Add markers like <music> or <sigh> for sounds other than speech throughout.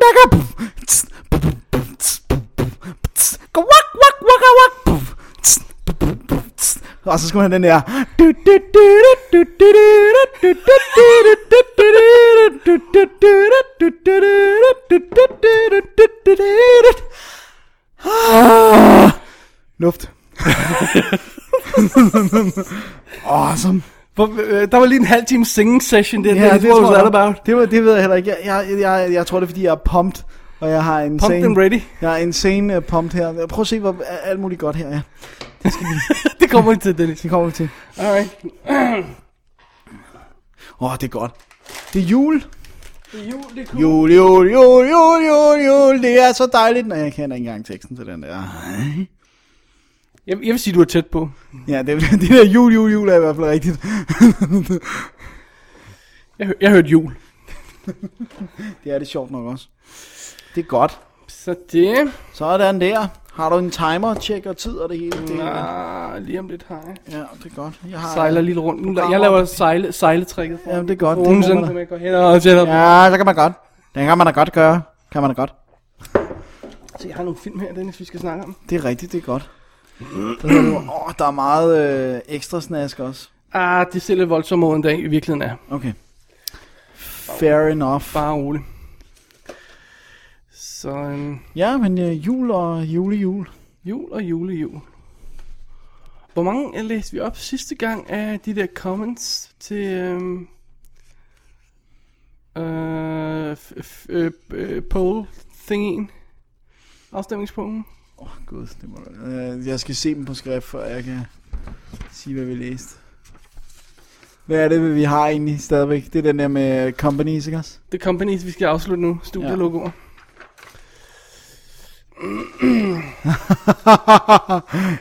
back up. Go walk, walk, walk, walk. Og så skulle han den der Ah, Luft Åh, som Hvor, øh, der var lige en halv times singing session der. Ja, det, det, what was tror that jeg. about? Det, var, det ved jeg heller ikke. Jeg, jeg, jeg, jeg tror, det er, fordi jeg er pumped, og jeg har en Pumped scene, and ready. <laughs> Jeg har en scene uh, pumped her. Prøv at se, hvor a- alt muligt godt her er. Det kommer vi til, Dennis. Det kommer vi til. Alright. Åh, oh, det er godt. Det er jul. Jo, det kunne... Jul, jul, jul, jul, jul, jul. Det er så dejligt. Nej, jeg kender ikke engang teksten til den der. Jeg, jeg vil sige, du er tæt på. Ja, det, det der jul, jul, jul er i hvert fald rigtigt. Jeg, hø- jeg hørte jul. det er det sjovt nok også. Det er godt. Så det... Sådan der. Har du en timer, tjekker tid og det hele? Det, ja, Ah, lige om lidt har jeg. det er godt. Jeg har, Sejler lidt rundt. Nu, la- jeg laver sejle, sejletrækket for Jamen, det er godt. Det Nogen må sådan, man da. som jeg går hen og sætter. Ja. Ja, så kan man godt. Den kan man da godt gøre. Kan man da godt. Så jeg har nogle film her, Dennis, vi skal snakke om. Det er rigtigt, det er godt. Der, er, jo- åh, der er meget øh, ekstra snask også. Ah, det ser lidt voldsomt ud, end det i virkeligheden er. Okay. Fair enough. Bare rolig. Så øhm, Ja, men øh, jul og julejul. jul og julejul. Hvor mange øh, læste vi op sidste gang af de der comments til... Øhm, øh, f- f- øh, øh, poll thingen? Afstemningspunkten? Åh, oh, gud. Det må, øh, jeg skal se dem på skrift, før jeg kan sige, hvad vi læste. Hvad er det, vi har egentlig stadigvæk? Det er den der med companies, ikke også? <laughs> The Companies, vi skal afslutte nu. Studielogoer.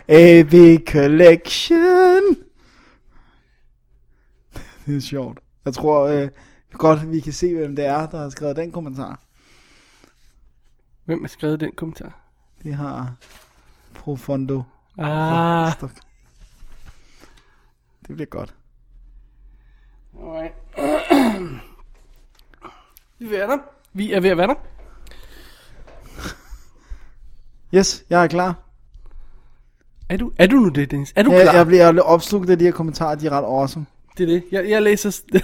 AB Collection. Det er sjovt. Jeg tror øh, godt, vi kan se, hvem det er, der har skrevet den kommentar. Hvem har skrevet den kommentar? Det har Profondo. Ah, Stok. Det bliver godt. alright. <clears throat> vi er ved at være der. Vi er ved at være der. Yes, jeg er klar. Er du, er du nu det, Dennis? Er du Jeg, klar? jeg bliver opslugt af de her kommentarer, de er ret awesome. Det er det. Jeg, jeg læser... s- <laughs> jeg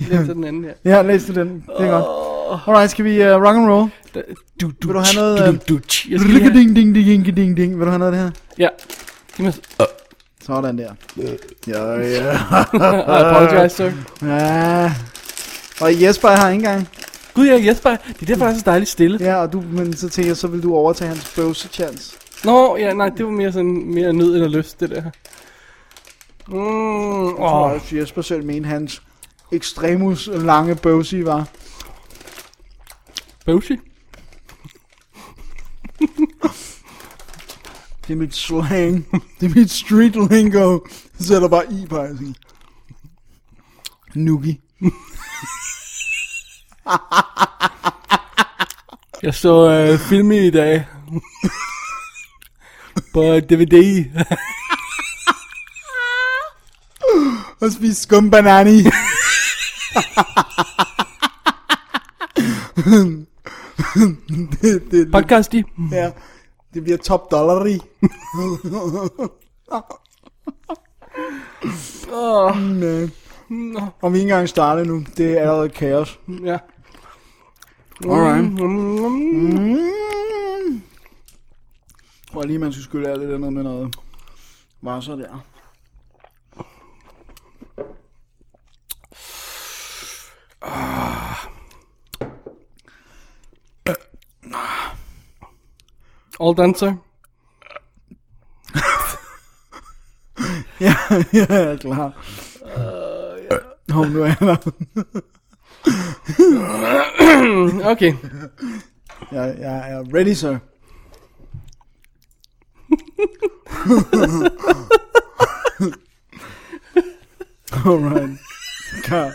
læser den anden her. Ja, læs du den. Det er godt. Alright, skal vi uh, rock and roll? Da- Du, du, Vil du have noget, øh, Du, du, tj- jeg skal lige have- ding ding ding ding ding Vil du have noget af det her? Ja. Giv mig... Uh, Sådan der. Ja, ja. <laughs> I apologize, sir. Ja. Og Jesper er her ikke engang. Gud, jeg er Jesper. Det er derfor, jeg er så dejligt stille. Ja, og du, men så tænker jeg, så vil du overtage hans bøvse chance. Nå, ja, nej, det var mere sådan... Mere nød eller lyst, det der. Mm, Jeg tror åh. også, Jesper selv mente hans ekstremus lange bøvse var. Bøvsig. Det er mit slang. Det er mit street lingo. Så sætter bare i på altså. Nuki. Jeg så øh, film i dag. <laughs> På DVD. Og spise skumbanani. det, det, Podcast i. Ja, det bliver top dollar i. Åh, Nej. nå, Om Mm, øh. vi ikke engang starter nu, det er allerede kaos. ja. Alright. Mm. Mm. Jeg tror lige, man skal skylde alt det andet med noget. Bare så der. All done, sir. <clears throat> <laughs> Ja, jeg er klar. Uh, ja. nu er jeg der. Okay. Jeg, jeg er ready, sir. <laughs> Alright. God.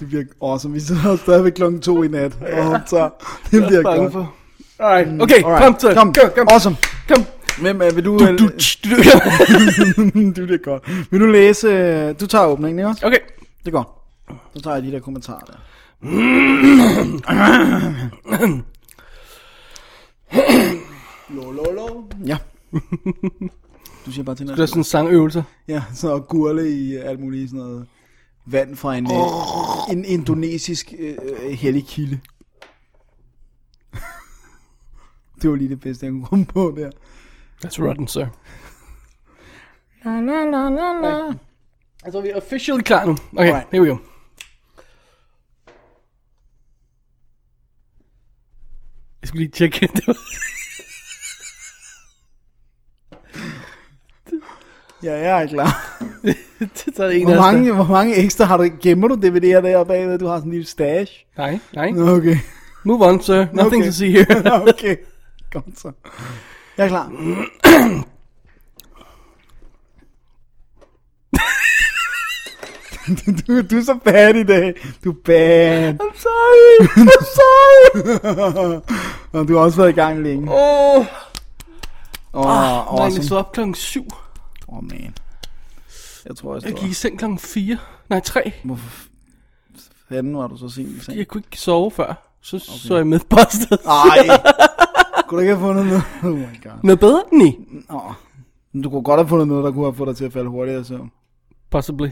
Det bliver awesome. Vi sidder stadigvæk klokken to i nat og optager. Det bliver bange godt. for. Alright, okay, Alright. kom så. Kom, kom, kom. Awesome. kom. Hvem er, vil du... <laughs> Du, du, du, du. det bliver godt. Vil du læse... øh, Du øh, tager åbningen, ikke også? <laughs> Okay, Det går. Så tager jeg de der kommentarer der. Lo, lo, lo. Ja. Du siger bare til Det er noget. sådan en sangøvelse. Ja, så og gurle i alt muligt sådan noget. Vand fra en, oh. en indonesisk øh, øh, hellig kilde. <laughs> det var lige det bedste, jeg kunne komme på der. That's rotten, sir. La, la, la, la, la. Altså, vi er officially klar nu. Okay, Alright. here we go. Jeg skulle lige tjekke. <laughs> det var- Ja, jeg er klar. Så er det en Hvor af os, der- mange, hvor mange ekstra har du? Gemmer du DVD'er der bagved? Du har sådan en lille stash. Nej, nej. Nå, Okay. Move on, sir. Nothing Okay. to see <laughs> here. Nå, okay. Kom så. Jeg er klar. <clears throat> du, du er så bad i dag. Du er bad. I'm <laughs> sorry. I'm sorry. Og du har også været i gang længe. Åh, Åh. oh, Oh, nej, jeg awesome. stod op klokken 7. Åh, oh, man. Jeg tror, jeg Jeg gik står. i seng klokken 4. Nej, 3. Hvorfor fanden var du så sent i seng? Jeg kunne ikke sove før. Så okay. så jeg Mythbusters. Ej. <laughs> kunne du ikke have fundet noget? <laughs> Oh my god. Noget bedre? Nej. Nå. Men du kunne godt have fundet noget, der kunne have fået dig til at falde hurtigere i søvn. Possibly.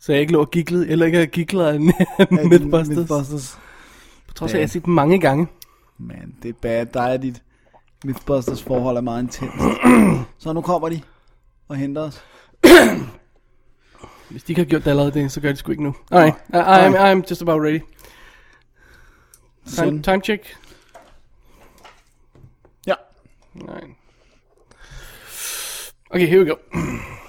Så jeg ikke lå og giglede, eller ikke har giglet en <laughs> Mythbusters. Mythbusters. På trods af, at jeg har set dem mange gange. Man, det er bad. Dig og dit Mythbusters forhold er meget intens. så nu kommer de og henter os. Hvis de ikke har gjort det allerede, det, så gør de sgu ikke nu. Alright, I, I'm, I'm just about ready. Time, Sådan. time check. Ja. Nej. Okay, here we go.